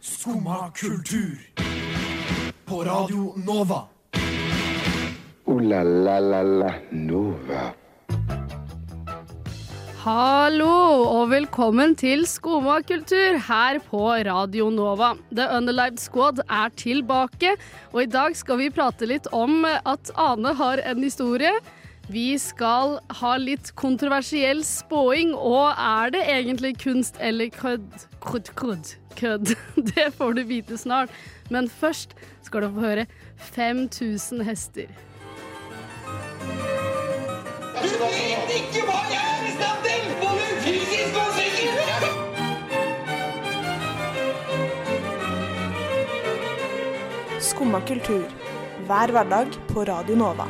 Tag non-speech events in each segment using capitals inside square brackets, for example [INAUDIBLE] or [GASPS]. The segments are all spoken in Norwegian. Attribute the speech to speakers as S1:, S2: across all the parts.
S1: Skumma kultur. På Radio Nova.
S2: Ooh la la la la Nova.
S3: Hallo og velkommen til Skoma kultur her på Radio Nova. The Underlived Squad er tilbake, og i dag skal vi prate litt om at Ane har en historie. Vi skal ha litt kontroversiell spåing, og er det egentlig kunst eller kødd? Kødd, kødd, kødd. [LAUGHS] Det får du vite snart. Men først skal du få høre 5000 hester.
S4: Du vet ikke hva jeg er i stand til! Både fysisk og psykisk!
S5: Skumma kultur. Hver hverdag på Radio Nova.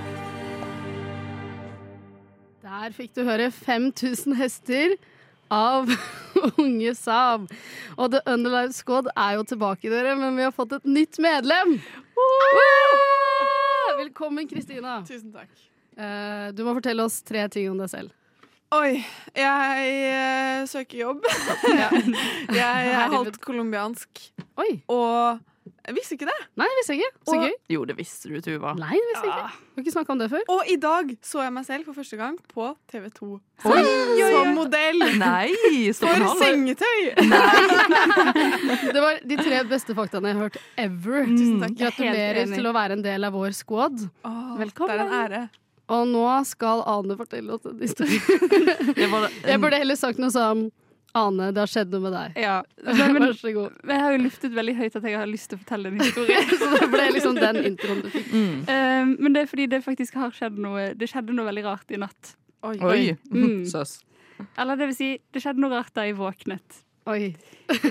S3: Der fikk du høre 5000 hester av [LAUGHS] Unge Saab. Og The Underlife Squad er jo tilbake, dere, men vi har fått et nytt medlem. Woo! Velkommen, Kristina.
S6: Tusen takk.
S3: Eh, Du må fortelle oss tre ting om deg selv.
S6: Oi, jeg eh, søker
S3: [LAUGHS]
S6: jobb. jeg er halvt colombiansk,
S3: Oi!
S6: og jeg visste ikke det.
S3: Nei, det visste jeg ikke. Så
S6: Og-
S3: gøy.
S7: Jo, det visste du, Tuva.
S3: Nei, det visste jeg ikke. Vi har ikke snakka om det før.
S6: Og i dag så jeg meg selv for første gang på TV 2
S7: Oi,
S6: som modell
S7: Nei!
S6: for
S7: Stockholm.
S6: sengetøy.
S3: Det var de tre beste faktaene jeg har hørt ever.
S6: Tusen takk.
S3: Gratulerer til å være en del av vår squad.
S6: Åh,
S3: Velkommen.
S6: Det er en ære.
S3: Og nå skal Ane fortelle oss en historie. [LAUGHS]
S7: Det var
S3: Jeg burde heller sagt noe som Ane, det har skjedd noe med deg.
S8: Ja,
S7: [LAUGHS]
S8: men
S3: Vær så god.
S8: jeg har jo luftet veldig høyt at jeg har lyst til å fortelle en historie.
S3: [LAUGHS] Så det ble liksom den introen du fikk.
S7: mm.
S8: Eh, men det er fordi det faktisk har skjedd noe Det skjedde noe veldig rart i natt.
S6: Oi.
S7: [LAUGHS] Oi.
S8: Mm.
S7: Søs.
S8: Eller det vil si, det skjedde noe rart da jeg våknet.
S3: Oi.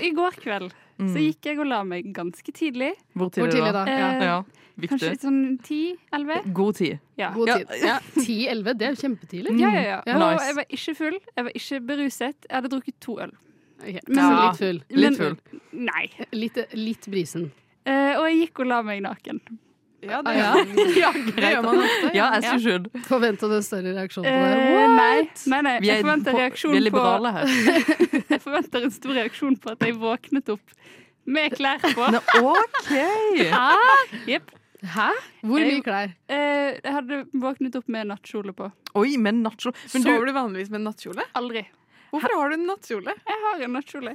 S8: I går kveld
S7: Mm.
S8: så gikk jeg og la meg ganske tidlig.
S7: Hvor
S3: Hvor
S7: tidlig da?
S3: Ja.
S8: Eh,
S7: Ja,
S8: Kanskje
S7: viktig.
S8: litt sånn ti-elleve.
S7: God tid.
S8: Ja.
S3: God
S7: Ja,
S3: tid. 10-11, det er jo kjempetidlig.
S8: Ja, ja, ja.
S7: Nice.
S8: Og jeg var ikke full, jeg var ikke beruset. Jeg hadde drukket to øl.
S3: Ok,
S8: Men-
S3: Så litt full.
S8: Men-
S7: Litt full.
S8: Nei.
S3: Litt, litt brisen.
S8: Eh, og jeg gikk og la meg naken.
S6: Ja, det,
S3: [LAUGHS] Ja.
S6: det gjør man ofte.
S7: Ja, as you should.
S3: Forventa du en større reaksjon på det?
S8: Eh, nei, nei, nei.
S7: Vi
S8: Jeg
S7: er,
S8: forventer
S7: på, vi er
S8: reaksjon på
S7: liberale her.
S8: [LAUGHS] Jeg forventer en stor reaksjon på at jeg våknet opp med klær på.
S7: Nei, OK!
S8: Ah, jepp.
S3: Hæ? Hvor mye klær?
S8: Eh, jeg hadde våknet opp med nattkjole på.
S7: [LAUGHS] Oi, men nacho men,
S6: Sover
S7: du,
S6: du vanligvis med en nattkjole?
S8: Aldri.
S6: Hvorfor har du en nattkjole?
S3: Mm.
S8: Jeg har en nattkjole.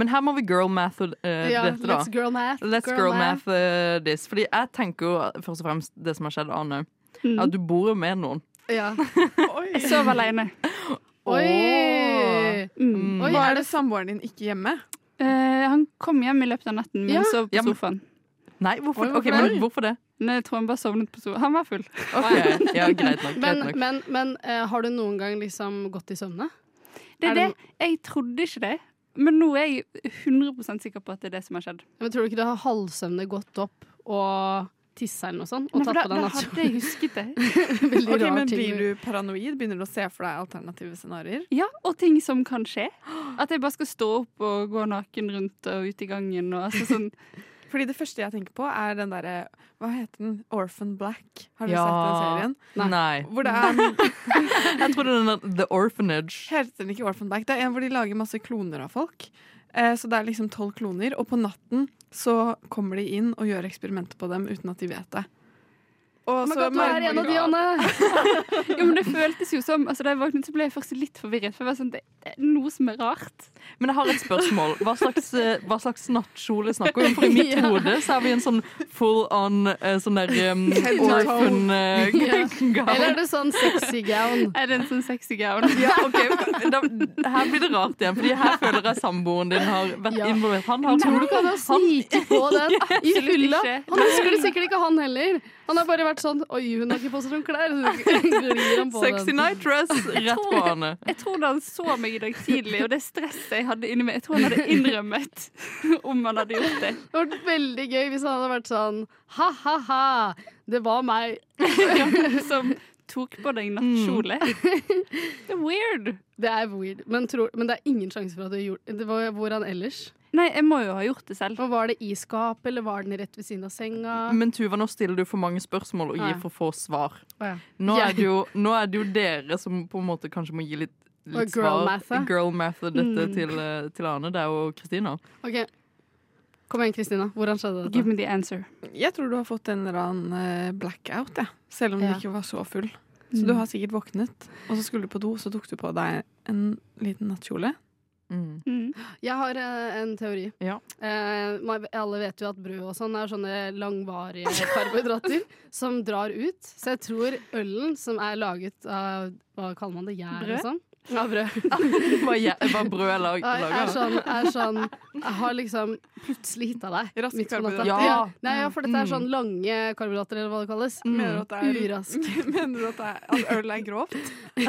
S7: men her må vi girl math uh, dette, da.
S3: let's girl math.
S7: Let's girl math uh, this. Fordi jeg tenker jo først og fremst det som har skjedd, Ane.
S8: Mm.
S7: At du bor jo med noen.
S3: Ja.
S6: Oi.
S8: Jeg sov alene.
S3: Oi!
S8: Mm.
S3: Oi,
S6: Hva
S3: er
S6: er
S3: det
S6: det samboeren din ikke hjemme?
S8: Eh, han kom hjem i løpet av natten, men
S3: Ja.
S8: sov på
S7: Ja, men-
S8: sofaen.
S7: Nei, hvorfor,
S6: Oi,
S7: Ok,
S6: hvorfor
S7: men
S6: det?
S7: hvorfor det?
S8: Nei, jeg tror han bare sovnet på sofaen. Han var full.
S7: Ok, [LAUGHS] ja, Greit nok.
S3: men,
S7: Greit nok.
S3: men, men eh, har du noen gang liksom gått i søvne?
S8: Det
S3: Er
S8: er det.
S3: det-
S8: Jeg trodde ikke det. Men nå er jeg 100 sikker på at det er det som har skjedd.
S3: Men tror du ikke du har halvsøvne gått opp og tissa eller noe sånt? Og
S8: Nei, for
S3: tatt
S8: da,
S3: på deg
S8: da
S3: nattkjole? [LAUGHS]
S8: hadde jeg husket det.
S3: Veldig
S6: Ok,
S3: rar
S6: men
S3: ting å
S6: Blir
S3: gjøre.
S6: du paranoid? Begynner du å se for deg alternative scenarioer?
S8: Ja, Og ting som kan skje. At jeg bare skal stå opp og gå naken rundt og ut i gangen. Og, altså, sånn,
S6: Fordi det første jeg tenker på er den derre Hva heter den? Orphan Black. Har du
S7: Ja.
S6: sett den serien?
S3: Nei.
S7: Nei.
S6: Hvor det er
S3: [LAUGHS]
S7: Jeg trodde den var The Orphanage.
S6: Heter den ikke Orphan Black? Det er en hvor de lager masse kloner av folk. Eh, så det er liksom tolv kloner, og på natten så kommer de inn og gjør eksperimenter på dem uten at de vet det. Og
S3: Men
S6: så
S3: godt du er en av de, Anne.
S8: [LAUGHS] Jo, men det føltes jo som altså, Da jeg våknet, så ble jeg først litt forvirret. For jeg var sånn, det det er noe som er rart.
S7: Men jeg har et spørsmål. Hva slags, eh, hva slags nattkjole snakker vi om? For i mitt
S3: [LAUGHS] Ja.
S7: hode så har vi en sånn full on eh, sånn der um,
S6: Head to toe.
S7: orphan eh,
S3: [LAUGHS]
S7: [LAUGHS]
S3: Ja. Eller
S7: gown.
S3: er det sånn sexy gown?
S8: Er det en sånn sexy gown?
S7: Ja, ok, da, Her blir det rart igjen, Fordi her føler jeg samboeren din har vært
S3: Ja.
S7: involvert. Han har
S3: Tror du ikke han har sniket på den i
S8: Absolutt
S3: fylla?
S8: ikke.
S3: Han husker det sikkert ikke, han heller. Han har bare vært sånn Oi, hun har ikke på seg noen klær. Så [LAUGHS] glir han på
S7: sexy
S3: den.
S7: night dress rett på henne.
S8: Jeg tror da han så meg i dag tidlig, og det stresset jeg hadde inni meg Jeg tror han hadde innrømmet om han hadde gjort det.
S3: Det hadde vært veldig gøy hvis han hadde vært sånn ha-ha-ha, det var meg.
S8: Som tok på deg nattkjole. Mm. [LAUGHS] Det er weird.
S3: Det er weird, men, tror, men det er ingen sjanse for at du har gjort det. Var, hvor han ellers?
S8: Nei, jeg må jo ha gjort det selv.
S3: Og var det i skapet, eller var den rett ved siden av senga?
S7: Men Tuva, nå stiller du for mange spørsmål og
S3: Nei.
S7: gir for få svar.
S3: Å ja.
S7: Nå er
S3: Jeg-
S7: det jo, nå er det jo dere som på en måte kanskje må gi litt,
S3: Og
S7: litt
S3: girl Mm.
S7: svar.
S3: math, da.
S7: Girl math og dette til, eh, til Ane. Det er jo Kristina.
S3: Ok, Kom igjen, Kristina. Hvordan skjedde
S8: Give
S3: dette?
S8: me the answer.
S6: Jeg tror du har fått en eller annen eh, blackout, jeg. Selv om du
S7: Ja.
S6: ikke var så full.
S3: Mm.
S6: Så du har sikkert våknet, og så skulle du på do, så tok du på deg en liten nattkjole.
S7: Mm.
S8: Mm.
S3: Jeg har eh, en teori.
S7: Ja.
S3: Eh, man- alle vet jo at brød og sånn er sånne langvarige
S7: [LAUGHS]
S3: karbohydrater som drar ut. Så jeg tror ølen som er laget av Hva kaller man det? Gjær?
S8: Brød?
S3: og sånn? Ja, brød.
S7: [LAUGHS] Var, je- var brød lag,
S3: Nei, Er
S7: laga?
S3: sånn,
S7: [LAUGHS]
S3: er sånn Jeg har liksom plutselig hitta deg.
S6: Raske
S3: midt på natta.
S6: karbohydrater.
S7: Ja.
S3: Nei, ja, for dette er
S7: Mm.
S3: sånn lange karbohydrater, eller hva det kalles.
S6: Mener du at det er
S3: Mm. Urask.
S6: [LAUGHS] Mener du at, det er, at øl er grovt?
S7: [LAUGHS]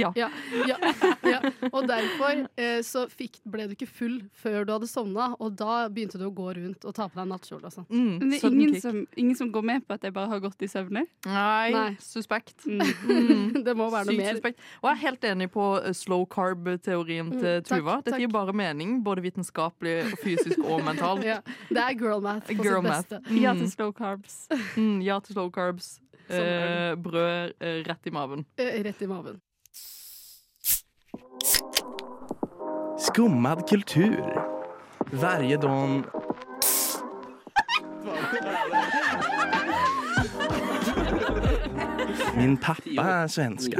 S7: Ja.
S3: Ja, ja, [LAUGHS] ja. Og derfor eh, så fikk, ble du ikke full før du hadde sovna, og da begynte du å gå rundt og ta på deg nattkjole og sånn.
S7: Mm,
S8: Men det er
S7: sudden
S8: ingen
S7: kick.
S8: som, ingen som går med på at jeg bare har gått i søvne.
S7: Nei,
S3: Nei.
S7: suspekt.
S8: Mm.
S3: [LAUGHS] Det må være noe
S7: Sykt
S3: mer.
S7: suspekt. Og jeg er helt enig på eh, slow carb-teorien til
S3: Mm, takk,
S7: Tuva. Dette
S3: takk.
S7: gir bare mening, både vitenskapelig, og fysisk
S3: [LAUGHS]
S7: og mentalt.
S3: Ja, det er girl math på
S7: Girl
S3: sitt
S7: math.
S3: beste.
S8: Ja til slow carbs.
S7: Mm, ja til slow carbs.
S6: Som øl.
S7: Eh, brød eh, rett i maven.
S3: Eh, Rett i maven.
S9: Skummad kultur. Varje dag... Min pappa är svenska.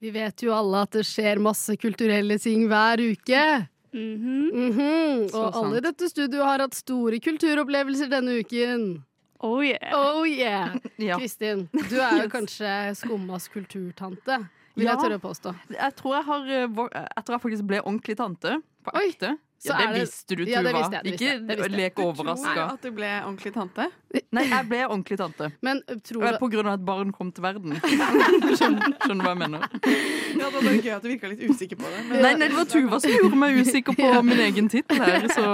S3: Vi vet jo alle at det skjer masse kulturelle ting hver uke.
S8: Mhm.
S3: Mhm.
S7: Så
S3: Og alle i dette studioet har hatt store kulturopplevelser denne uken.
S8: Oh yeah.
S3: Oh yeah!
S7: Ja.
S3: Kristin, du er jo
S7: [LAUGHS] Yes.
S3: kanskje skummas kulturtante, vil
S7: Ja.
S3: jeg tørre å påstå.
S7: Jeg tror jeg har eh, vå- Etter jeg faktisk ble ordentlig tante, på
S3: Oi,
S7: ekte
S3: så
S7: ja, det,
S3: er det-
S7: visste du, Tuva.
S3: Ja, det visste jeg, det visste jeg, det
S7: Ikke
S3: visste jeg.
S7: lek overraska.
S6: At du ble ordentlig tante?
S7: Nei, jeg ble ordentlig tante.
S3: Men tror
S7: Eh,
S3: du
S7: På grunn av at barn kom til
S3: [LAUGHS]
S7: verden. Skjønner, skjønner du hva jeg mener?
S6: Ja, det var gøy at du virka litt usikker på det. Men
S7: Nei, nei, det var Tuva som gjorde meg usikker på min egen tittel her, så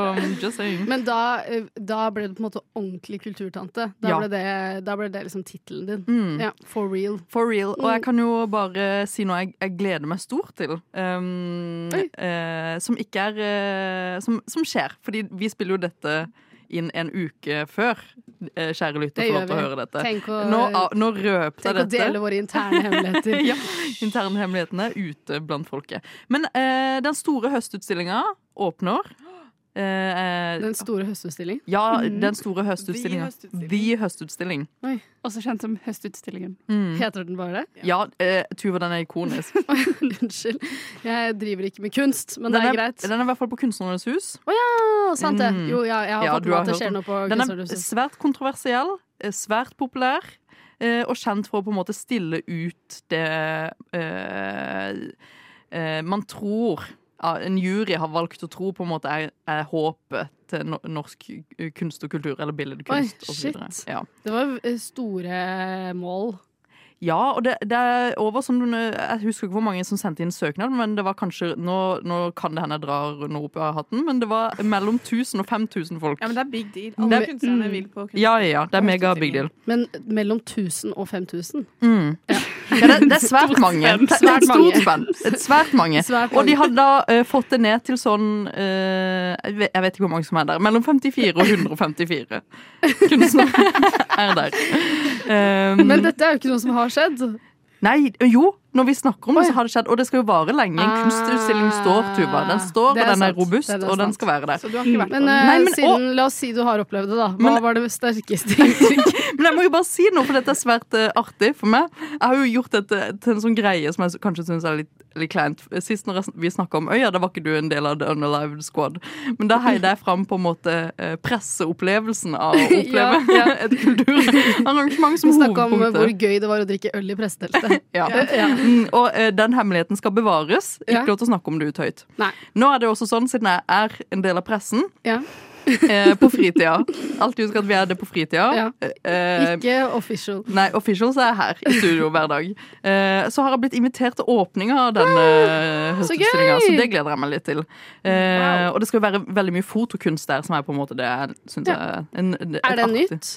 S7: just saying.
S3: men da, eh, da ble du på en måte ordentlig kulturtante. Da
S7: Ja.
S3: ble det, da ble det liksom tittelen din.
S7: Mm.
S3: Ja, for real.
S7: For real. Og jeg kan jo bare si noe jeg, jeg gleder meg stort til. Um,
S3: Oi.
S7: eh, som ikke er eh, som, som skjer. Fordi vi spiller jo dette inn en uke før. eh, kjære lytter,
S3: Det gjør
S7: får lov til å
S3: vi.
S7: høre dette.
S3: Tenk å,
S7: Nå, av- nå røpte
S3: tenk å
S7: jeg dette.
S3: dele våre interne hemmeligheter.
S7: [LAUGHS] ja, Internhemmelighetene er ute blant folket. Men eh, den store høstutstillinga åpner. Eh,
S3: Den store høstutstilling.
S7: ja,
S3: Mhm.
S7: den store høstutstillinga.
S6: høstutstilling.
S7: The høstutstilling.
S8: Også kjent som Høstutstillingen.
S7: Mm.
S3: Heter den bare det? [LAUGHS]
S7: Ja, eh, Tuva, den er ikonisk.
S3: Unnskyld. Jeg driver ikke med kunst, men det
S7: den
S3: er greit.
S7: Den er i hvert fall på Kunstnernes hus.
S3: Å, sant det.
S7: Mm.
S3: Jo, ja, jeg har
S7: Ja,
S3: fått
S7: du
S3: med
S7: har
S3: at det
S7: hørt
S3: skjer
S7: om-
S3: noe på
S7: Den er
S3: Kunstnerhuset.
S7: svært kontroversiell, eh, svært populær. eh, Og kjent for å på en måte stille ut det eh, eh, man tror ja, En jury har valgt å tro på en måte er, er håpet til no- norsk eh, kunst og kultur, eller billedkunst
S3: Oi,
S7: osv.
S3: shit.
S7: Ja.
S3: Det var eh, store mål.
S7: ja, og det, det er over sånn eh, Jeg husker ikke hvor mange som sendte inn søknad, men det var kanskje Nå, nå kan det hende jeg drar noe opp av hatten, men det var mellom 1000 og 5000 folk.
S6: Ja, men det er big deal. Alle
S3: Men-
S6: kunstnerne vil på kunst.
S7: Ja, ja, ja. Det er mega big deal.
S3: Men mellom 1000 og 5000.
S7: Mm. Ja, det, det er svært mange.
S8: spenn.
S7: Det er
S3: Svært
S7: et stort
S3: mange.
S7: spenn. Et Svært mange.
S3: Svært
S7: Og de hadde da eh, fått det ned til sånn eh, jeg vet- Jeg vet ikke hvor mange som er der. Mellom 54 og 154 kunstnere [LAUGHS] er der. Um,
S3: Men dette er jo ikke noe som har skjedd.
S7: nei, jo, når vi snakker om det, så har det skjedd. Og det skal jo vare lenge. En
S3: Ah.
S7: kunstutstilling står, Tuva. Den står, og
S3: Det er
S7: den er
S3: sant.
S7: robust,
S3: Det er
S7: og den
S3: sant.
S7: skal være der.
S6: Så du har ikke vært
S3: Men,
S6: på den?
S3: eh,
S7: Nei, men-
S3: siden, la oss si du har opplevd det, da. Hva
S7: Men-
S3: var det sterkeste [LAUGHS] inntrykket?
S7: Men jeg må jo bare si noe, for dette er svært eh, artig for meg. Jeg har jo gjort dette til en sånn greie som jeg s- kanskje syns er litt, litt kleint. Sist når jeg sn- vi snakka om Øya, da var ikke du en del av The Unalived Squad. Men da heide jeg fram på en måte eh, presseopplevelsen av å
S3: [LAUGHS]
S7: oppleve
S3: Ja, ja.
S7: [LAUGHS] et kulturarrangement
S3: Vi
S7: som
S3: snakka om eh, hvor
S7: hovedpunktet.
S3: gøy det var å drikke øl i presseteltet.
S7: [LAUGHS] Ja.
S3: Ja.
S7: Mm, og eh, den hemmeligheten skal bevares.
S3: Ja.
S7: Ikke lov til å snakke om det ut høyt.
S3: Nei.
S7: Nå er det også sånn, siden jeg er en del av pressen,
S3: Ja.
S7: eh, på fritida Alltid husk at vi er det på fritida.
S3: Ja.
S7: Eh,
S3: Ikke official.
S7: Nei, official så er jeg her i studio hver dag. Eh, så har jeg blitt invitert til åpninga av denne
S3: så
S7: høstutstillinga,
S3: gøy!
S7: så det gleder jeg meg litt til. Eh, Og det skal jo være veldig mye fotokunst der, som er på en måte det jeg syns
S3: Ja.
S7: er en, et
S3: Er det
S7: artig-
S3: nytt?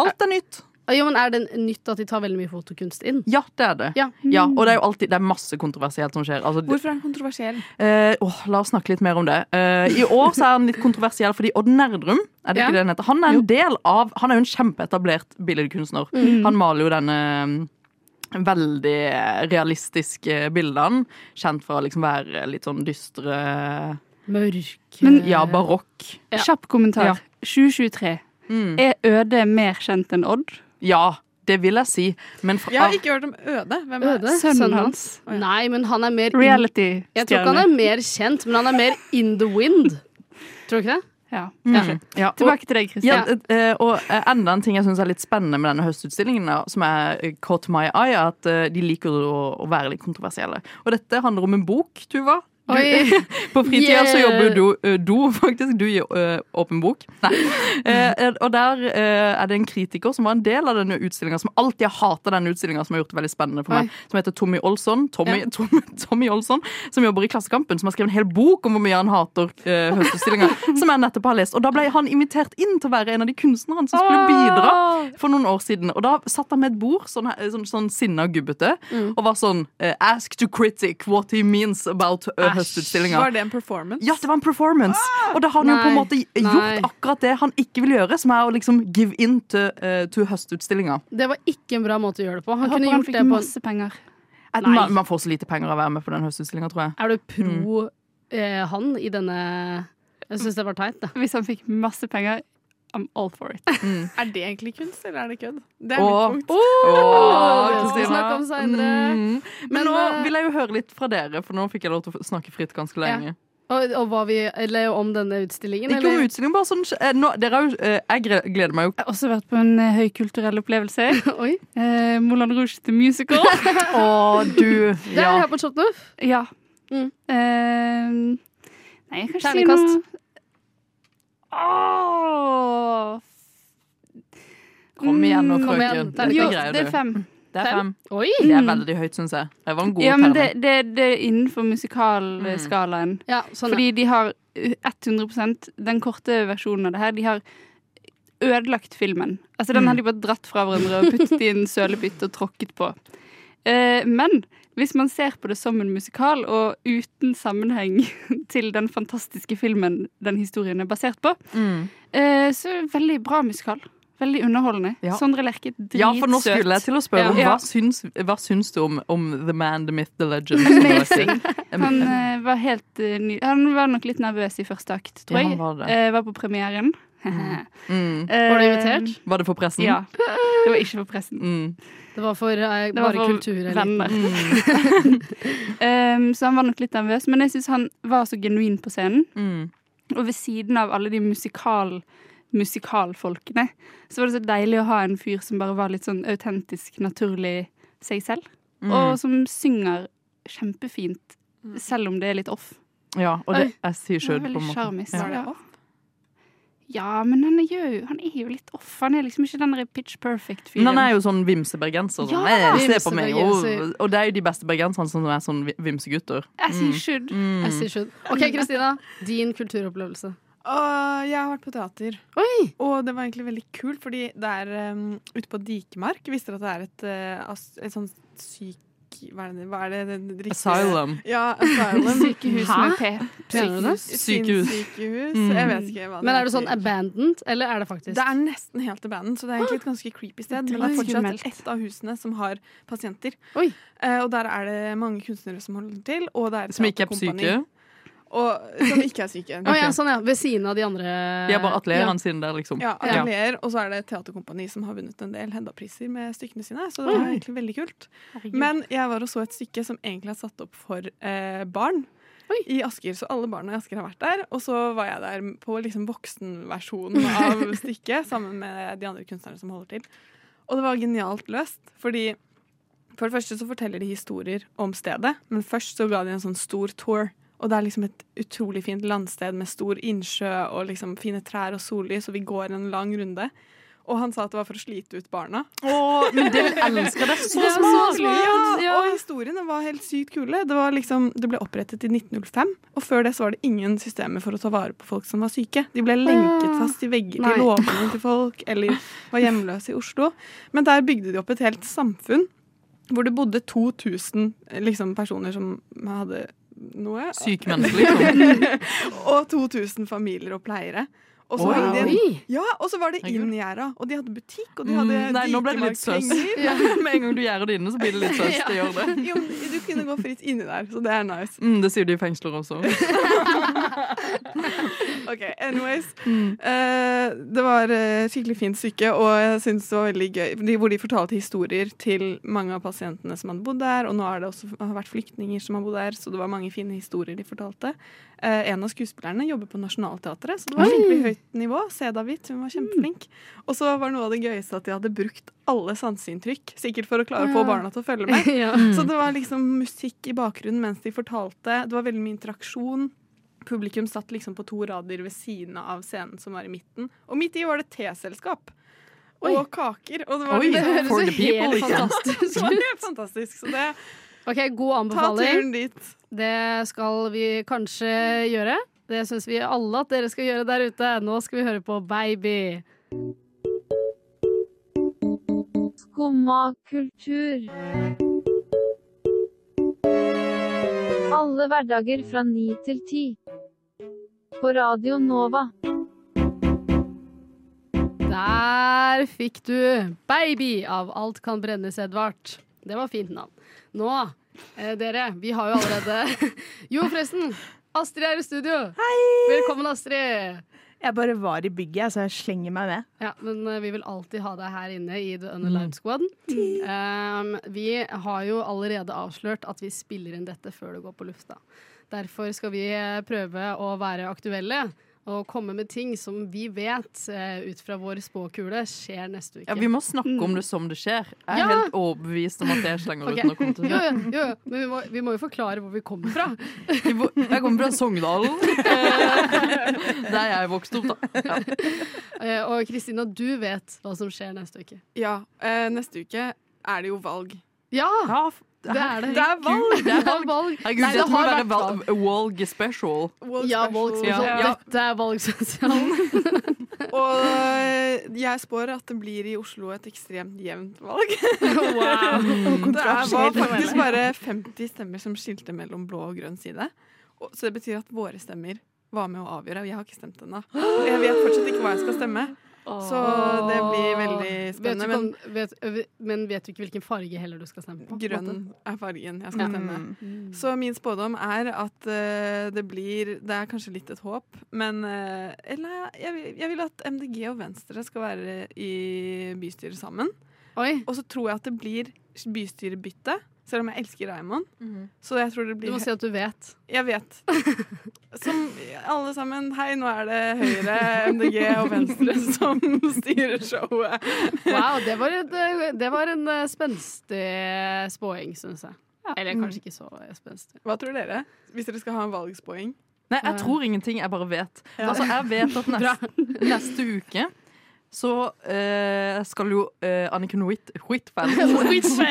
S7: Alt er nytt.
S3: Ah, Jo, men er det nytt at de tar veldig mye fotokunst inn?
S7: Ja, det er det.
S3: Ja. Mm.
S7: og det er jo alltid det er masse kontroversielt som skjer. Altså,
S6: Hvorfor er den kontroversiell?
S7: eh, åh, la oss snakke litt mer om det. Eh, I år så er han litt kontroversiell fordi Odd Nerdrum er det
S3: Ja.
S7: ikke det han heter? Han er en del av Han er jo en kjempeetablert billedkunstner. Han maler jo denne mm, veldig realistiske bildene. Kjent for å liksom være litt sånn dystre
S3: Mørke
S8: Men-
S7: Ja, barokk.
S3: Ja.
S8: Kjapp kommentar.
S7: Ja.
S8: 2023.
S7: Mm.
S8: Er Øde mer kjent enn Odd?
S7: Ja, det vil jeg si. Men fra,
S6: Jeg har ikke hørt om Øde. Hvem er
S3: Øde?
S8: Sønnen
S3: Sønnen
S8: hans?
S6: Å, ja.
S3: Nei, men han er mer in, Jeg tror ikke han
S8: Reality-stjerne.
S3: er mer kjent, men han er mer in the wind. Tror du ikke det?
S8: Ja.
S7: Mm. Ja, og-
S8: Tilbake til deg, Kristian.
S7: Ja, eh, og eh, enda en ting jeg syns er litt spennende med denne høstutstillingen, da, som er eh, caught my eye, er at eh, de liker å, å være litt kontroversielle. Og dette handler om en bok, Tuva. Du,
S3: Oi.
S7: på fritida så
S3: Yeah.
S7: jobber du, eh, du [LAUGHS] faktisk. Du i eh, åpen bok. Nei. Eh, og der eh, er det en kritiker som var en del av denne utstillinga, som alltid har hata denne utstillinga, som har gjort det veldig spennende for
S3: Oi.
S7: meg, som heter Tommy Olsson. Tommy, Tommy, Tommy Olsson, som jobber i Klassekampen, som har skrevet en hel bok om hvor mye han hater uh, høstutstillinga, som jeg nettopp har lest. Og da ble han invitert inn til å være en av de kunstnerne som skulle bidra for noen år siden. Og da satt han med et bord, sånn, her- sånn, sånn sinna gubbete, og var sånn eh, Ask to critic what he means about uh, høstutstillinga.
S6: Var det en performance?
S7: Ja, det var en performance. Og da har han jo på en
S3: Ah! Nei.
S7: måte
S3: Nei.
S7: gjort akkurat det han ikke vil gjøre, som er å liksom give in til, eh, til høstutstillinga.
S3: Det var ikke en bra måte å gjøre det på. Han
S8: Jeg
S3: kunne
S8: håper han
S3: gjort
S8: fikk
S3: det på en
S8: masse penger.
S7: At
S3: Nei.
S7: Man, man får så lite penger av å være med på den høstutstillinga, tror jeg.
S3: Er du pro
S8: Mm.
S3: eh, han i denne Jeg syns det var teit, det.
S8: Hvis han fikk masse penger, I'm all for it.
S6: Er det egentlig kunst, eller er det kødd? Det er
S7: Åh.
S6: mitt punkt.
S7: Åh,
S3: det skal vi
S7: Kristina.
S3: snakke om senere.
S7: Mm. Men,
S3: Men,
S7: nå
S3: eh,
S7: vil jeg jo høre litt fra dere, for nå fikk jeg lov til å snakke fritt ganske lenge.
S3: Og, og hva vi Eller om denne utstillingen,
S7: Ikke om
S3: eller?
S7: utstillingen, bare sånn eh, nå, dere er jo, eh, Jeg gre-
S3: [LAUGHS]
S7: gleder meg jo
S8: Jeg har også vært på en eh, høykulturell [LAUGHS] opplevelse.
S3: Oi.
S8: Eh, Moulin Rouge the Musical.
S7: Å, du
S3: Det er
S7: ja.
S3: her på Chotnov.
S8: [LAUGHS] ja.
S3: Mm.
S8: Eh, nei, jeg kan ikke si noe
S3: Terningkast.
S8: Åh. Mm,
S7: Kom igjen nå,
S3: Kom
S7: frøken.
S3: igjen, der-
S8: Jo,
S7: Dette greier
S8: det er
S7: du.
S8: fem.
S7: Det er fem.
S3: Oi!
S7: Det er veldig høyt, syns jeg. Det var en god
S8: Ja, men det,
S7: terning.
S8: det, det er innenfor
S7: Mm.
S8: musikalskalaen.
S3: Ja, sånn
S8: Fordi de har uh, 100 den korte versjonen av det her. De har ødelagt filmen. Altså Den
S7: Mm.
S8: har de bare dratt fra hverandre og
S7: [LAUGHS]
S8: puttet i en sølepytt og tråkket på. Eh, men hvis man ser på det som en musikal, og uten sammenheng [LAUGHS] til den fantastiske filmen den historien er basert på,
S7: Mm.
S8: eh, så er det veldig bra musikal. Veldig underholdende.
S7: Ja.
S8: Sondre Lerche, dritsøt.
S7: Ja, for nå skulle jeg til å spørre
S8: Ja.
S7: hva, syns, hva syns du om, om The Man, The Myth, The Legend?
S8: Amazing.
S7: Em-
S8: Han
S7: em-
S8: eh, var helt eh, ny Han var nok litt nervøs i første akt,
S7: Ja,
S8: tror jeg.
S7: han var det.
S8: Eh, var på premieren. [LAUGHS]
S7: Mm.
S8: Eh,
S3: Var du invitert?
S7: Var det for pressen?
S8: Ja. Det var ikke for pressen.
S7: Mm.
S3: Det var for eh,
S8: Det var
S3: bare
S8: for
S3: kultureliten.
S8: venner.
S7: Mm.
S8: [LAUGHS]
S7: [LAUGHS]
S8: Um, så han var nok litt nervøs, men jeg syns han var så genuin på scenen.
S7: Mm.
S8: Og ved siden av alle de musikal musikalfolkene, så var det så deilig å ha en fyr som bare var litt sånn autentisk, naturlig seg selv.
S7: Mm.
S8: Og som synger kjempefint, selv om det er litt off.
S7: Ja, og det jeg sier
S8: Mm. Han
S7: sjøl,
S8: er
S7: på en
S8: veldig
S7: måte.
S8: sjarmis.
S7: Ja.
S6: Var det
S8: Ja.
S6: off?
S8: Ja, men han er, jo, han er jo litt off. Han er liksom ikke den der pitch perfect-fyren.
S7: Men han er jo sånn vimsebergenser. Sånn.
S8: Ja,
S7: «Nei, se på meg. Og,
S3: vimsebergenser.
S7: og det er jo de beste bergenserne som er sånn vi- vimsegutter.
S8: As he should.
S7: Mm.
S3: Jeg sier slutt. OK, Kristina. Din kulturopplevelse.
S6: Åh, jeg har vært på teater.
S3: Oi!
S6: Og det var egentlig veldig kult, fordi det er um, ute på Dikemark. Visste dere at det er et, eh, as- et sånn syk... Hva er det? Hva er det, det, det riktige-
S7: Asylum.
S6: Ja, [LAUGHS] asylum.
S8: Sykehus
S3: Hæ?
S8: med P.
S3: Mener du det?
S7: Sykehus.
S6: Sinnssykehus.
S7: Mm.
S6: Jeg vet ikke hva det
S3: Men er det sånn
S6: heter.
S3: abandoned, eller er det faktisk
S6: Det er nesten helt abandoned, så det er egentlig
S3: Ah,
S6: et ganske creepy sted. Men det er
S8: Dritskummelt.
S6: fortsatt ett av husene som har pasienter.
S3: Oi.
S6: Eh, og der er det mange kunstnere som holder til, og det er et
S7: Som ikke er på
S6: teaterkompani.
S7: syke.
S6: Og, som ikke er syke.
S3: Å ja, sånn ja. Ved siden av de andre
S7: De har bare atelierene sine der, liksom.
S6: Ja, atelier, Og så er det et teaterkompani som har vunnet en del Hedda-priser med stykkene sine. Så det var egentlig veldig kult. Men jeg var og så et stykke som egentlig er satt opp for eh, barn.
S3: Oi.
S6: I Asker, Så alle barna i Asker har vært der. Og så var jeg der på liksom voksenversjonen av stykket sammen med de andre kunstnerne som holder til. Og det var genialt løst, fordi for det første så forteller de historier om stedet, men først så ga de en sånn stor tour. Og det er liksom et utrolig fint landsted med stor innsjø og liksom fine trær og sollys, og vi går en lang runde. Og han sa at det var for å slite ut barna.
S7: Å, men det elsker det så
S8: Det er
S7: smart!
S8: så smart.
S6: Ja, og historiene var helt sykt kule. Det, var liksom, det ble opprettet i 1905, og før det så var det ingen systemer for å ta vare på folk som var syke. De ble
S7: Ah.
S6: lenket fast i vegger
S3: Nei.
S6: til låvene til folk, eller var hjemløse i Oslo. Men der bygde de opp et helt samfunn hvor det bodde 2000 liksom, personer som hadde noe.
S8: [LAUGHS]
S7: Syke mennesker, liksom.
S6: og 2000 familier og pleiere. Og så
S9: Oi.
S6: var det en
S3: Oi!
S6: ja, og så var det
S7: Herregud.
S6: inngjerda, og de hadde butikk, og de hadde
S7: Mm, nei, nå ble det litt søs.
S6: [LAUGHS] dikemarkpenger.
S7: Med en gang du gjerder det inne, så blir det litt søst. Det gjør det.
S6: Jo, men du kunne gå fritt inni der, så det er nice.
S7: Mm, det sier de i fengsler også.
S6: Ok, anyways. Eh, det var eh, skikkelig fint stykke, og jeg synes det var veldig gøy, de, hvor de fortalte historier til mange av pasientene som hadde bodd der, og nå har det også har vært flyktninger som har bodd der, så det var mange fine historier de fortalte. Eh, en av skuespillerne jobber på Nationaltheatret, så det var skikkelig høyt nivå. Seda Witt, hun var kjempeflink. Og så var noe av det gøyeste at de hadde brukt alle sanseinntrykk, sikkert for å klare å få
S3: Ja.
S6: barna til å følge med.
S3: [LAUGHS] [LAUGHS] ja.
S6: Så det var liksom musikk i bakgrunnen mens de fortalte. Det var veldig mye interaksjon. Publikum satt liksom på to rader ved siden av scenen som var i midten. Og midt i var det teselskap. Og kaker. Og det var
S7: Oi,
S6: det
S3: høres
S7: for
S3: jo
S7: the people,
S3: helt
S7: ikke
S6: [LAUGHS]
S7: sant?
S3: fantastisk
S6: var
S3: ut.
S6: helt fantastisk. Så det,
S3: OK, god
S6: ta
S3: anbefaling.
S6: turen dit.
S3: Det skal vi kanskje gjøre. Det syns vi alle at dere skal gjøre der ute. Nå skal vi høre på Baby.
S10: Skumma kultur. Alle hverdager fra ni til ti. På Radio Nova.
S3: Der fikk du Baby av Alt kan brennes, Edvard. Det var fint navn. Nå, eh, dere, vi har jo allerede [LAUGHS] Jo, forresten. Astrid er i studio. Hei! Velkommen, Astrid.
S11: Jeg bare var i bygget, jeg, så jeg slenger meg med.
S3: Ja, men eh, vi vil alltid ha deg her inne i The
S7: Mm.
S3: Underlined Squad. Um, vi har jo allerede avslørt at vi spiller inn dette før det går på lufta. Derfor skal vi eh, prøve å være aktuelle og komme med ting som vi vet eh, ut fra vår spåkule skjer neste uke.
S7: Ja, Vi må snakke om det som det skjer. Jeg er
S3: Ja.
S7: helt overbevist om at det slenger
S3: Ok.
S7: ut når jeg kommer til
S3: Jo,
S7: det.
S3: jo, jo, jo, men vi må, vi må jo forklare hvor vi kommer fra.
S7: Jeg kommer fra Sogndalen. eh, [LAUGHS] Der jeg vokste opp, da.
S3: Eh, og Kristina, du vet hva som skjer neste uke.
S6: Ja, eh, neste uke er det jo valg.
S3: Ja,
S7: Ja, f-
S3: det er det.
S6: Det er valg!
S7: Det er valg.
S3: valg.
S7: Herregud,
S3: Nei, det
S7: dette må
S3: har
S7: være
S3: vært valg.
S7: val- Walg special.
S6: World
S3: Ja,
S6: special.
S3: valgspesial.
S7: Ja.
S3: Dette er valgspesialen.
S6: Og eh, jeg spår at det blir i Oslo et ekstremt jevnt valg.
S3: [LAUGHS] Wow.
S6: Det er- var faktisk bare 50 stemmer som skilte mellom blå og grønn side. Og, så det betyr at våre stemmer var med å avgjøre, og jeg har ikke stemt ennå. Og jeg vet fortsatt ikke hva jeg skal stemme. Så det blir veldig
S3: Vet du,
S6: spennende. Men
S3: ikke om- vet, ø, men vet du ikke hvilken farge heller du skal stemme på?
S6: grønn er fargen jeg skal stemme.
S3: Mm.
S6: Så min spådom er at eh, det blir Det er kanskje litt et håp, men eh, Eller jeg, vil- jeg vil at MDG og Venstre skal være i bystyret sammen.
S3: Oi,
S6: Og så tror jeg at det blir bystyrebytte, selv om jeg elsker Raymond. Så jeg tror det
S3: du
S6: blir
S3: må si at du
S7: [LAUGHS]
S3: vet.
S6: Jeg vet. Som alle sammen Hei, nå er det Høyre, MDG og Venstre [LAUGHS] som styrer showet.
S3: Wow, det var, et, det var en ø, spenstig spåing, syns jeg. Eller kanskje ikke så spenstig.
S6: Hva tror dere? Hvis dere skal ha en valgspoeng?
S7: Nei, jeg tror ingenting, jeg bare vet. Altså, jeg vet at neste, neste uke så eh, skal jo eh, Anniken Whit Huitfeldt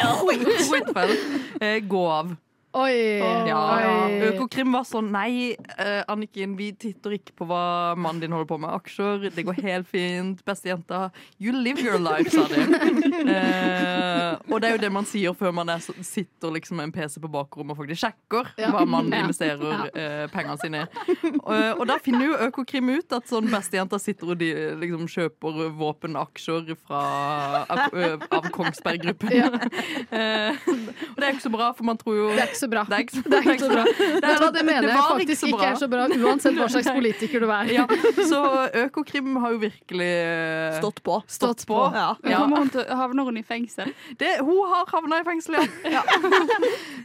S7: Huitfeldt, eh, gå av.
S3: Oi!
S7: Ja,
S3: Oi.
S7: Økokrim var sånn Nei, eh, Anniken, vi titter ikke på hva mannen din holder på med. Aksjer, det går helt fint. Beste jenta. You live your life, sa
S3: [LAUGHS]
S7: de. Eh, og det er jo det man sier før man er, så- sitter liksom med en PC på bakrommet og faktisk sjekker
S3: Ja.
S7: hva mannen
S3: Ja.
S7: investerer eh, pengene sine i. Og- og da finner jo Økokrim ut at sånn bestejenta sitter og de, liksom, kjøper våpenaksjer fra, av, av Kongsberg Gruppen. Eh, og det er ikke så bra, for man tror jo
S3: Det er ikke så bra.
S7: [LAUGHS] det er ikke så,
S3: Det er ikke så bra. Vet du hva, det mener
S7: Det
S3: jeg
S7: var
S3: faktisk
S7: så
S3: ikke
S7: bra.
S3: er så bra, uansett hva slags politiker du er.
S7: [LAUGHS] Ja, så Økokrim har jo virkelig eh,
S11: Stått på.
S3: Stått på.
S11: Ja.
S7: Ja.
S8: Kommer hun til, havner hun i fengsel?
S7: Det, hun har havna i fengsel, ja.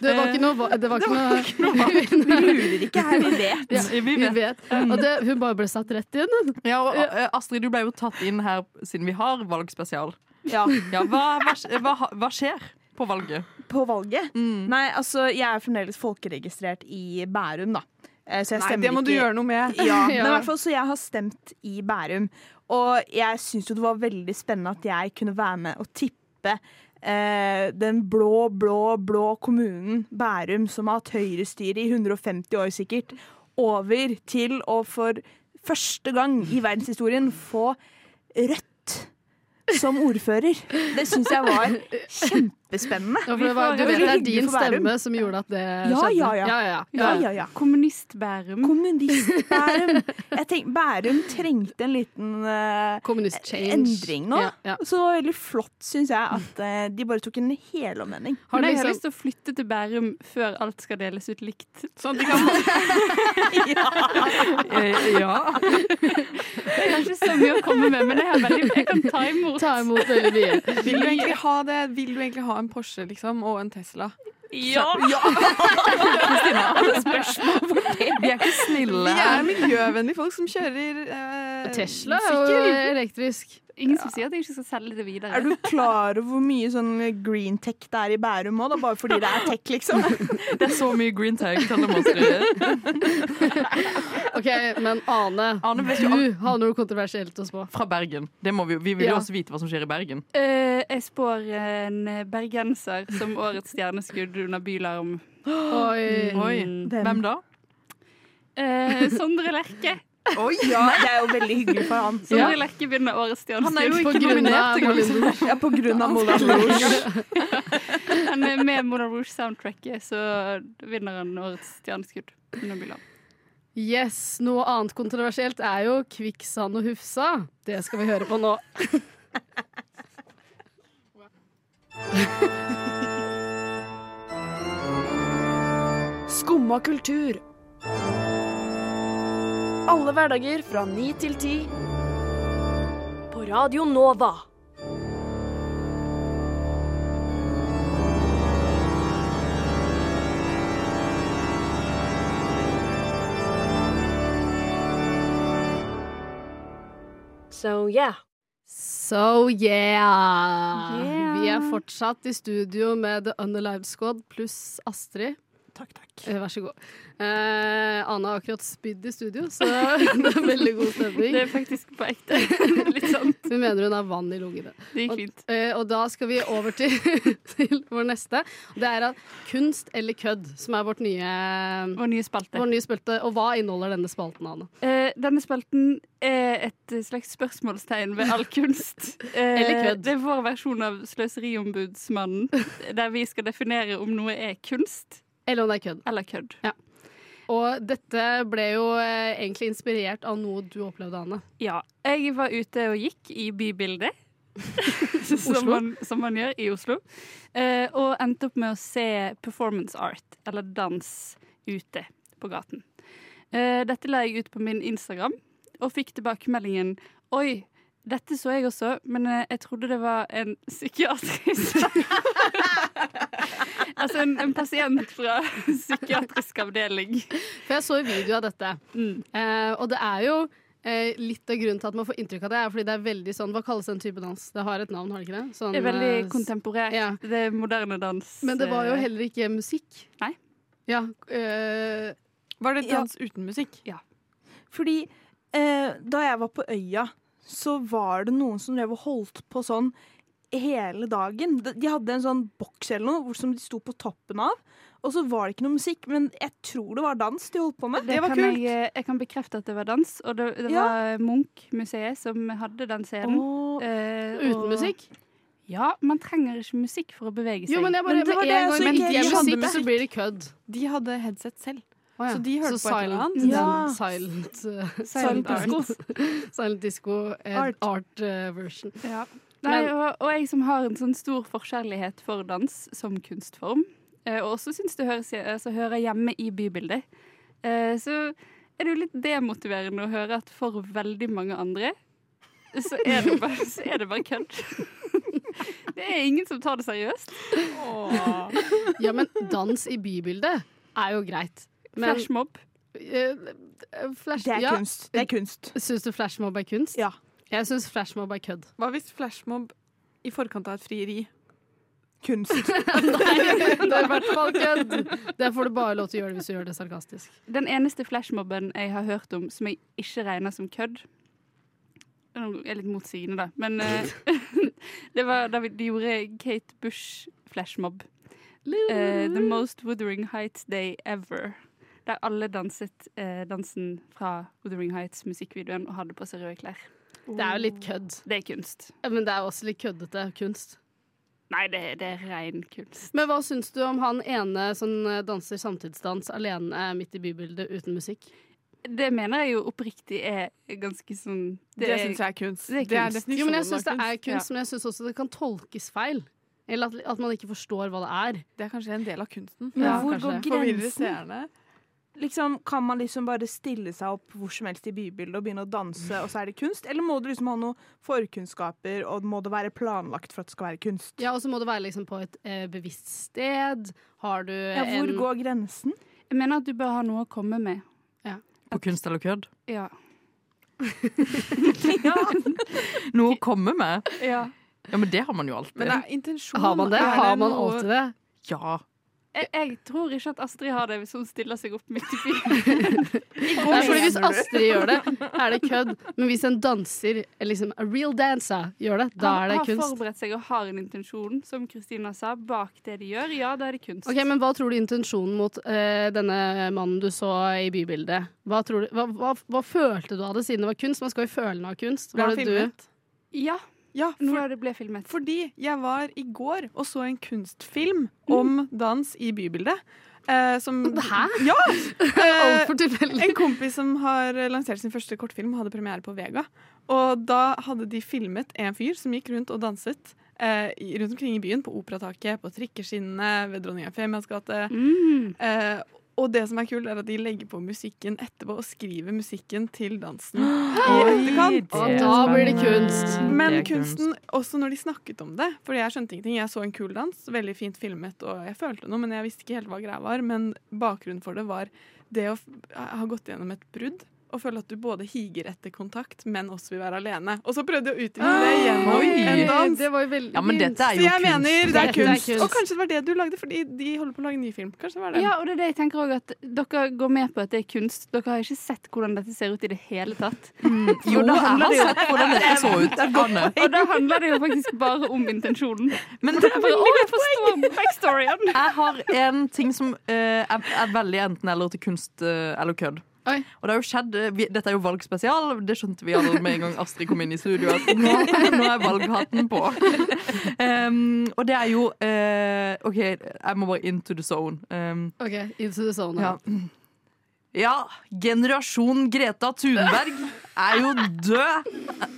S3: Det var ikke noe va- Eh, Det var ikke noe [LAUGHS]
S11: Vi lurer ikke her, vi vet.
S7: Ja, vi
S3: Vi vet. Og det, hun bare ble satt rett inn.
S7: Ja, og eh, Astrid, du ble jo tatt inn her siden vi har valgspesial.
S11: Ja.
S7: Ja, hva, hva, hva, hva skjer på valget?
S11: På valget?
S5: Mm.
S11: Nei, altså, jeg er fremdeles folkeregistrert i Bærum, da. Eh, Så jeg
S6: Nei,
S11: stemmer
S6: det må du
S11: ikke-
S6: gjøre noe med.
S11: Ja,
S3: Ja.
S11: men i hvert fall så jeg har stemt i Bærum. Og jeg syns jo det var veldig spennende at jeg kunne være med og tippe eh, den blå, blå, blå kommunen Bærum, som har hatt høyrestyre i 150 år sikkert, over til å for første gang i verdenshistorien få Rødt. som ordfører. Det syns jeg
S3: [LAUGHS]
S11: var kjempespennende.
S3: Ja, for det var, du vet det er din stemme som gjorde at det
S11: Ja,
S3: skjedde?
S11: ja, ja. Ja, ja, ja.
S8: Kommunist-Bærum. [LAUGHS]
S11: Kommunist-Bærum. Jeg tenk, Bærum trengte en liten eh, endring nå.
S8: Ja, ja.
S11: Så det var veldig flott, syns jeg, at eh, de bare tok en helomvending.
S8: Men jeg har liksom- lyst til å flytte til Bærum før alt skal deles ut likt.
S6: Sånn at de kan
S8: Eh, ja. Det er kanskje så mye å komme med, men jeg, har veldig, jeg kan ta imot.
S3: Ta imot veldig mye. [LAUGHS]
S6: Vil du egentlig ha det? Vil du egentlig ha en Porsche liksom, og en Tesla?
S7: [LAUGHS]
S8: Ja!
S6: ja. spørsmål for det.
S7: Vi er ikke snille.
S6: Vi er miljøvennlige folk som kjører eh,
S3: Tesla er jo
S6: sykkel.
S3: elektrisk.
S8: Ingen som sier at jeg ikke skal selge det videre.
S11: Er du klar over hvor mye sånn green tech det er i Bærum òg, bare fordi det er tech, liksom?
S8: [LAUGHS]
S7: Det er så mye green tag til demonstrere.
S3: OK, men Ane,
S7: Ane vet jo
S3: du har noe kontroversielt å spå.
S7: Fra Bergen. Det må vi, jo- vi vil jo
S8: Ja.
S7: også vite hva som skjer i Bergen.
S8: Eh, jeg spår en bergenser som årets stjerneskudd under bylarm. Mm.
S3: Oi.
S7: Oi. Hvem da?
S8: Eh, Sondre Lerche.
S11: Oi, ja, det er jo veldig hyggelig for han.
S8: Sondre Lerche vinner årets stjerneskudd.
S7: Han er jo ikke nominert engang. liksom.
S11: Ja, på grunn
S3: [LAUGHS]
S11: av Moulin Rouge.
S8: Han er med Moulin Rouge-soundtracket, så vinner han årets stjerneskudd under bylarm.
S3: Yes, Noe annet kontroversielt er jo Kvikksand og Hufsa. Det skal vi høre på nå.
S12: Skumma kultur. Alle hverdager fra ni til ti. På Radio Nova. So yeah.
S3: So yeah.
S12: Yeah.
S3: Vi er fortsatt i studio med The Unalive Squad pluss Astrid.
S11: Takk, takk.
S3: Vær så god. Eh, Anna har akkurat spydd i studio, så [LAUGHS] det er veldig god stemning.
S8: Det er faktisk på ekte. [LAUGHS] Litt sant.
S3: Hun mener hun har vann i lungene.
S8: Det gikk
S3: Og,
S8: fint.
S3: eh, og da skal vi over til, [LAUGHS] til vår neste. Det er at kunst eller kødd, som er vårt nye,
S8: Vår nye spalte.
S3: vår nye spalte. Og hva inneholder denne spalten, Anne?
S8: Eh, denne spalten er et slags spørsmålstegn ved all [LAUGHS] kunst. Eh,
S3: Eller kødd.
S8: Det er vår versjon av Sløseriombudsmannen, der vi skal definere om noe er kunst
S3: Eller om det er kødd.
S8: eller kødd.
S3: Og dette ble jo eh, egentlig inspirert av noe du opplevde, Anne.
S8: Ja. Jeg var ute og gikk i [LAUGHS] bybildet, som, man, som man gjør i Oslo, eh, og endte opp med å se performance art, eller dans, ute på gaten. Eh, dette la jeg ut på min Instagram, og fikk tilbakemeldingen Oi, dette så jeg også, men eh, jeg trodde det var en psykiatrisk [LAUGHS] Altså en, en pasient fra psykiatrisk avdeling.
S3: For jeg så en video av dette. Eh, og det er jo eh, litt av grunnen til at man får inntrykk av det, er fordi det er veldig sånn Hva kalles den type dans? Det har et navn, har det ikke det? Sånn,
S8: Det er veldig
S3: eh,
S8: kontemporært.
S3: ja.
S8: Det er moderne dans.
S3: Men det var jo
S8: eh,
S3: heller ikke musikk.
S8: Nei.
S3: Ja, eh,
S6: Var det dans uten musikk?
S11: Fordi eh, da jeg var på øya, så var det noen som drev og holdt på sånn hele dagen. De de hadde en sånn boks eller noe hvor- som de sto på toppen av. Og så var det ikke noe musikk, men jeg tror det var dans de holdt på med.
S8: Det kan Jeg, eh, jeg kan bekrefte at det var dans, og det, det
S11: Ja.
S8: var eh, Munch-museet som hadde den scenen.
S11: Åh,
S8: Eh,
S3: uten
S8: og-
S3: musikk?
S8: Ja, man trenger ikke musikk for å bevege seg.
S3: Jo, men jeg bare,
S11: Men det var
S3: med
S11: det
S3: en
S11: jeg
S3: gang
S11: så
S3: det
S11: ikke
S3: ikke er
S11: skjønte
S3: musikk,
S11: med.
S3: så blir det kødd.
S6: De hadde headset selv.
S3: Å ja.
S6: Så de hørte
S3: så
S6: på et eller
S3: silent,
S6: annet.
S3: den,
S11: Ja.
S3: Sånn silent, eh,
S8: Silent
S3: art. [LAUGHS] silent disco eh,
S11: Art.
S3: art, eh, version.
S8: Ja. Nei,
S3: Men-
S8: og, og jeg som har en sånn stor forskjellighet for dans som kunstform, eh, og også syns det høres, altså, hører hjemme i bybildet, eh, så er det jo litt demotiverende å høre at for veldig mange andre så er det bare, så er det bare kødd. [LAUGHS] Det er ingen som tar det seriøst.
S6: Åh.
S3: Ja, men dans i bybildet er jo greit. Men
S8: Flashmob.
S3: eh, flash,
S11: Det er
S3: ja.
S11: kunst. Det er kunst.
S3: Syns du flashmob er kunst?
S11: Ja.
S3: Jeg syns flashmob er kødd.
S6: Hva hvis flashmob i forkant av et frieri?
S11: Kunst.
S3: Det er i hvert fall kødd! Det får du bare lov til å gjøre hvis du gjør det sarkastisk.
S8: Den eneste flashmobben jeg har hørt om som jeg ikke regner som kødd Nå er jeg litt motsigende, da. Men eh, [LAUGHS] det var da vi- de gjorde Kate Bush flashmobb. Eh, the most Wuthering Heights Day ever. Der alle danset eh, dansen fra Wuthering Heights-musikkvideoen og hadde på seg røde klær.
S3: Det er jo litt kødd.
S8: Det er kunst.
S3: Ja, Men det er også litt køddete kunst.
S8: Nei, det, det er ren kunst.
S3: Men hva syns du om han ene som danser samtidsdans alene midt i bybildet uten musikk?
S8: Det mener jeg jo oppriktig er ganske sånn
S6: Det, syns jeg er kunst.
S8: Det er kunst.
S3: Jo, men jeg syns det
S6: av
S3: er kunst,
S6: Ja.
S3: men jeg syns også det kan tolkes feil. Eller at, at man ikke forstår hva det er.
S6: Det er kanskje en del av kunsten.
S11: Men
S3: Ja,
S11: hvor
S3: kanskje.
S11: går
S6: Forvirrer
S11: grensen?
S6: seerne.
S11: Liksom, kan man liksom bare stille seg opp hvor som helst i bybildet og begynne å danse, og så er det kunst? Eller må du liksom ha noen forkunnskaper, og må det være planlagt for at det skal være kunst?
S3: Ja, og så må det være liksom på et eh, bevisst sted. Har du
S11: Ja, hvor
S3: en
S11: går grensen?
S8: Jeg mener at du bør ha noe å komme med.
S7: På kunst eller kødd?
S8: Ja.
S7: Noe å komme med?
S8: Ja.
S7: Ja, men det har man jo alltid.
S6: Men det er intensjon.
S3: Har man det?
S6: Er
S3: Har man
S6: noe-
S3: alltid det?
S7: Ja.
S8: Jeg, jeg tror ikke at Astrid har det hvis hun stiller seg opp midt i byen. [LAUGHS]
S3: Det er fordi Hvis Astrid gjør det, er det kødd. Men hvis en danser, liksom a real dancer, gjør det, da
S8: Han
S3: er det
S8: har
S3: kunst.
S8: forberedt seg og har en intensjon, som Kristina sa, bak det de gjør. Ja, da er det kunst.
S3: Ok, Men hva tror du intensjonen mot eh, denne mannen du så i bybildet? Hva, tror du, hva, hva, hva følte du av det, siden det var kunst? Man skal jo føle noe av kunst.
S6: Ble
S3: Var
S6: han
S3: det du?
S6: filmet?
S8: Ja.
S6: for-
S8: Når det ble filmet.
S6: Fordi jeg var i går og så en kunstfilm om dans i bybildet. eh, som,
S3: Mm. Hæ? [LAUGHS]
S6: Ja! eh,
S3: Altfor tilfeldig.
S6: en kompis som har lansert sin første kortfilm, hadde premiere på Vega. Og da hadde de filmet en fyr som gikk rundt og danset eh, i- rundt omkring i byen. På Operataket, på trikkeskinnene, ved Dronning Eufemias gate.
S8: Mm.
S6: Eh, og det som er kult, er at de legger på musikken etterpå og skriver musikken til dansen.
S7: [GASPS]
S6: i etterkant.
S3: Oi, det er Da blir det spennende. kunst.
S6: Men
S3: Det er kunst.
S6: kunsten, også når de snakket om det Fordi jeg skjønte ingenting. Jeg så en kul dans, veldig fint filmet, og jeg følte noe, men jeg visste ikke helt hva greia var. Men bakgrunnen for det var det å f ha gått gjennom et brudd. Og føle at du både higer etter kontakt, men også vil være alene. Og så prøvde jeg å utvikle det gjennom
S7: Oi.
S6: en dans.
S3: Ah, Det var jo veldig
S7: Ja, men dette er
S6: Så
S7: jo
S6: jeg
S7: kunst.
S6: mener det er
S7: Dette er
S6: kunst.
S7: kunst.
S6: Og kanskje det var det du lagde, fordi de holder på å lage en ny film. Kanskje det var det.
S8: Ja, og det er det jeg tenker også, at Dere går med på at det er kunst. Dere har ikke sett hvordan dette ser ut i det hele tatt.
S7: Jo,
S8: Og da
S7: jeg
S8: handler
S7: har
S8: det jo-
S7: sett hvordan dette så [LAUGHS] ut. Anne.
S8: Og da handler det jo faktisk bare om intensjonen.
S7: Men
S8: det er bare, å, jeg forstår backstoryen.
S7: Jeg har en ting som eh, er, er veldig enten eller til kunst eh, eller kødd. Og det har jo skjedd, eh, vi, Dette er jo valgspesial, det skjønte vi alle med en gang Astrid kom inn i studio. At nå, nå er valghatten [LAUGHS] på. Em, og det er jo eh, OK, jeg må bare into the zone. Ehm, Em,
S3: Ok, into the zone.
S7: Ja. ja, generasjon Greta Thunberg er jo død!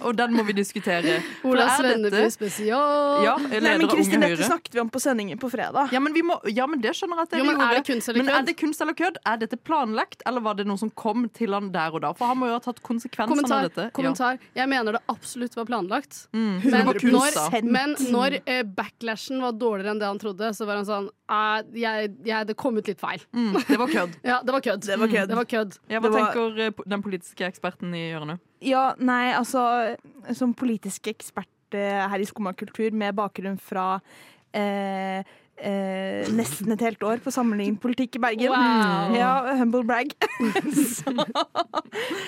S7: Og den må vi diskutere. For
S3: Ola
S7: er dette-
S3: Svenneby spesial.
S7: Ja, sånn
S11: Nei,
S7: leder
S11: men
S7: av Unge
S11: Kristin, dette
S7: Høyre.
S11: snakket vi om på sendingen på fredag.
S7: Ja, men, vi må, ja, men det skjønner jeg at
S11: Jo, men
S7: gjorde.
S11: er det kunst eller
S7: Men
S11: kødd?
S7: er det kunst eller kødd? Er dette planlagt, eller var det noe som kom til han der og da? For han må jo ha tatt konsekvensene
S3: Kommentar.
S7: av dette.
S3: kommentar. Jeg mener det absolutt var planlagt.
S7: Mm. Det
S3: Men
S7: var kunst,
S3: når,
S7: da.
S3: men når eh, backlashen var dårligere enn det han trodde, så var han sånn «Ah, jeg, jeg, Det kom ut litt feil.
S7: Mm, det var
S11: [LAUGHS]
S7: kødd.
S3: ja, det var kødd.
S11: Det var kødd.
S3: Det var kødd.
S7: Ja, hva
S11: Det var-
S7: tenker eh, po- den politiske eksperten i
S11: [LAUGHS]
S7: hjørnet?
S11: Ja, nei, altså Som politisk ekspert eh, her i Skumma kultur med bakgrunn fra eh, eh, nesten et helt år på sammenlignet politikk i Bergen.
S3: Wow.
S11: Ja, humble brag. [LAUGHS] Så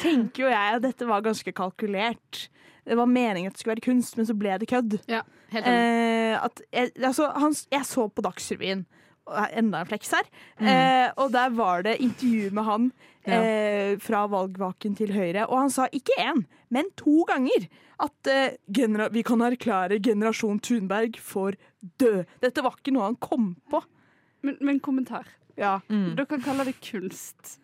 S11: tenker jo jeg at dette var ganske kalkulert. Det var meningen at det skulle være kunst, men så ble det kødd.
S3: helt
S11: eh, at jeg, altså, han, jeg så på Dagsrevyen. og her- Enda en fleks her. Eh, og der var det intervju med han
S7: Ja.
S11: eh, fra valgvaken til Høyre. Og han sa ikke én, men to ganger at eh, genera vi kan erklære generasjon Thunberg for død. Dette var ikke noe han kom på.
S8: Men, men kommentar.
S11: Ja.
S7: Mm.
S8: Dere kaller det kunst.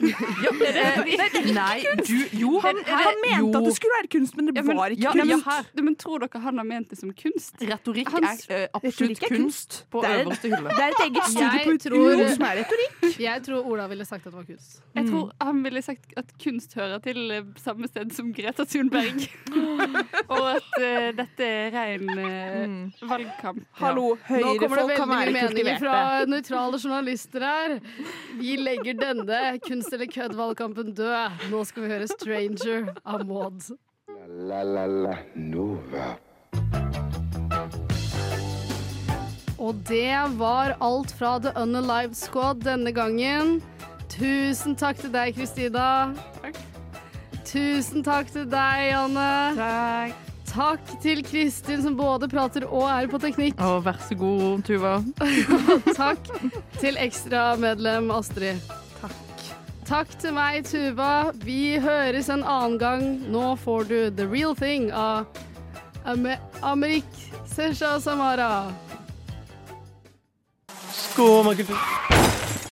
S8: Eh,
S7: Nei, du Jo, han,
S11: han mente at det skulle være kunst, men det var ikke kunst.
S8: men tror dere han har ment det som kunst?
S7: Retorikk
S8: Hans-
S7: er eh, absolutt
S11: Retorikk er
S7: kunst på
S11: Det er-
S7: øverste hylle.
S11: det er et eget studie på ut- uro som er retorikk.
S3: Jeg tror Ola ville sagt at det var kunst.
S8: Jeg tror han ville sagt at kunst hører til eh, samme sted som Greta Thunberg. og at eh, dette er ren eh, valgkamp.
S11: Hallo,
S3: Nå kommer det
S11: Høyre-folk
S3: veldig
S11: kan
S3: mye
S11: være
S3: meninger fra
S11: kultiverte.
S3: nøytrale journalister her. Vi legger denne kunst eller kødd-valgkampen død. Nå skal vi høre 'Stranger' av Maud.
S2: La la la Nova.
S3: Og det var alt fra The Unalive Squad denne gangen. Tusen takk til deg, Kristina.
S6: Takk.
S3: Tusen takk til deg, Janne.
S7: Takk.
S3: Takk til Kristin, som både prater og er på teknikk. [LAUGHS]
S7: Å, vær så god, Tuva.
S3: Og takk til ekstramedlem Astrid. Takk. Takk til meg, Tuva. Vi høres en annen gang. Nå får du The Real Thing av Ame Amerik Sesha Samara.
S9: Skummakultur.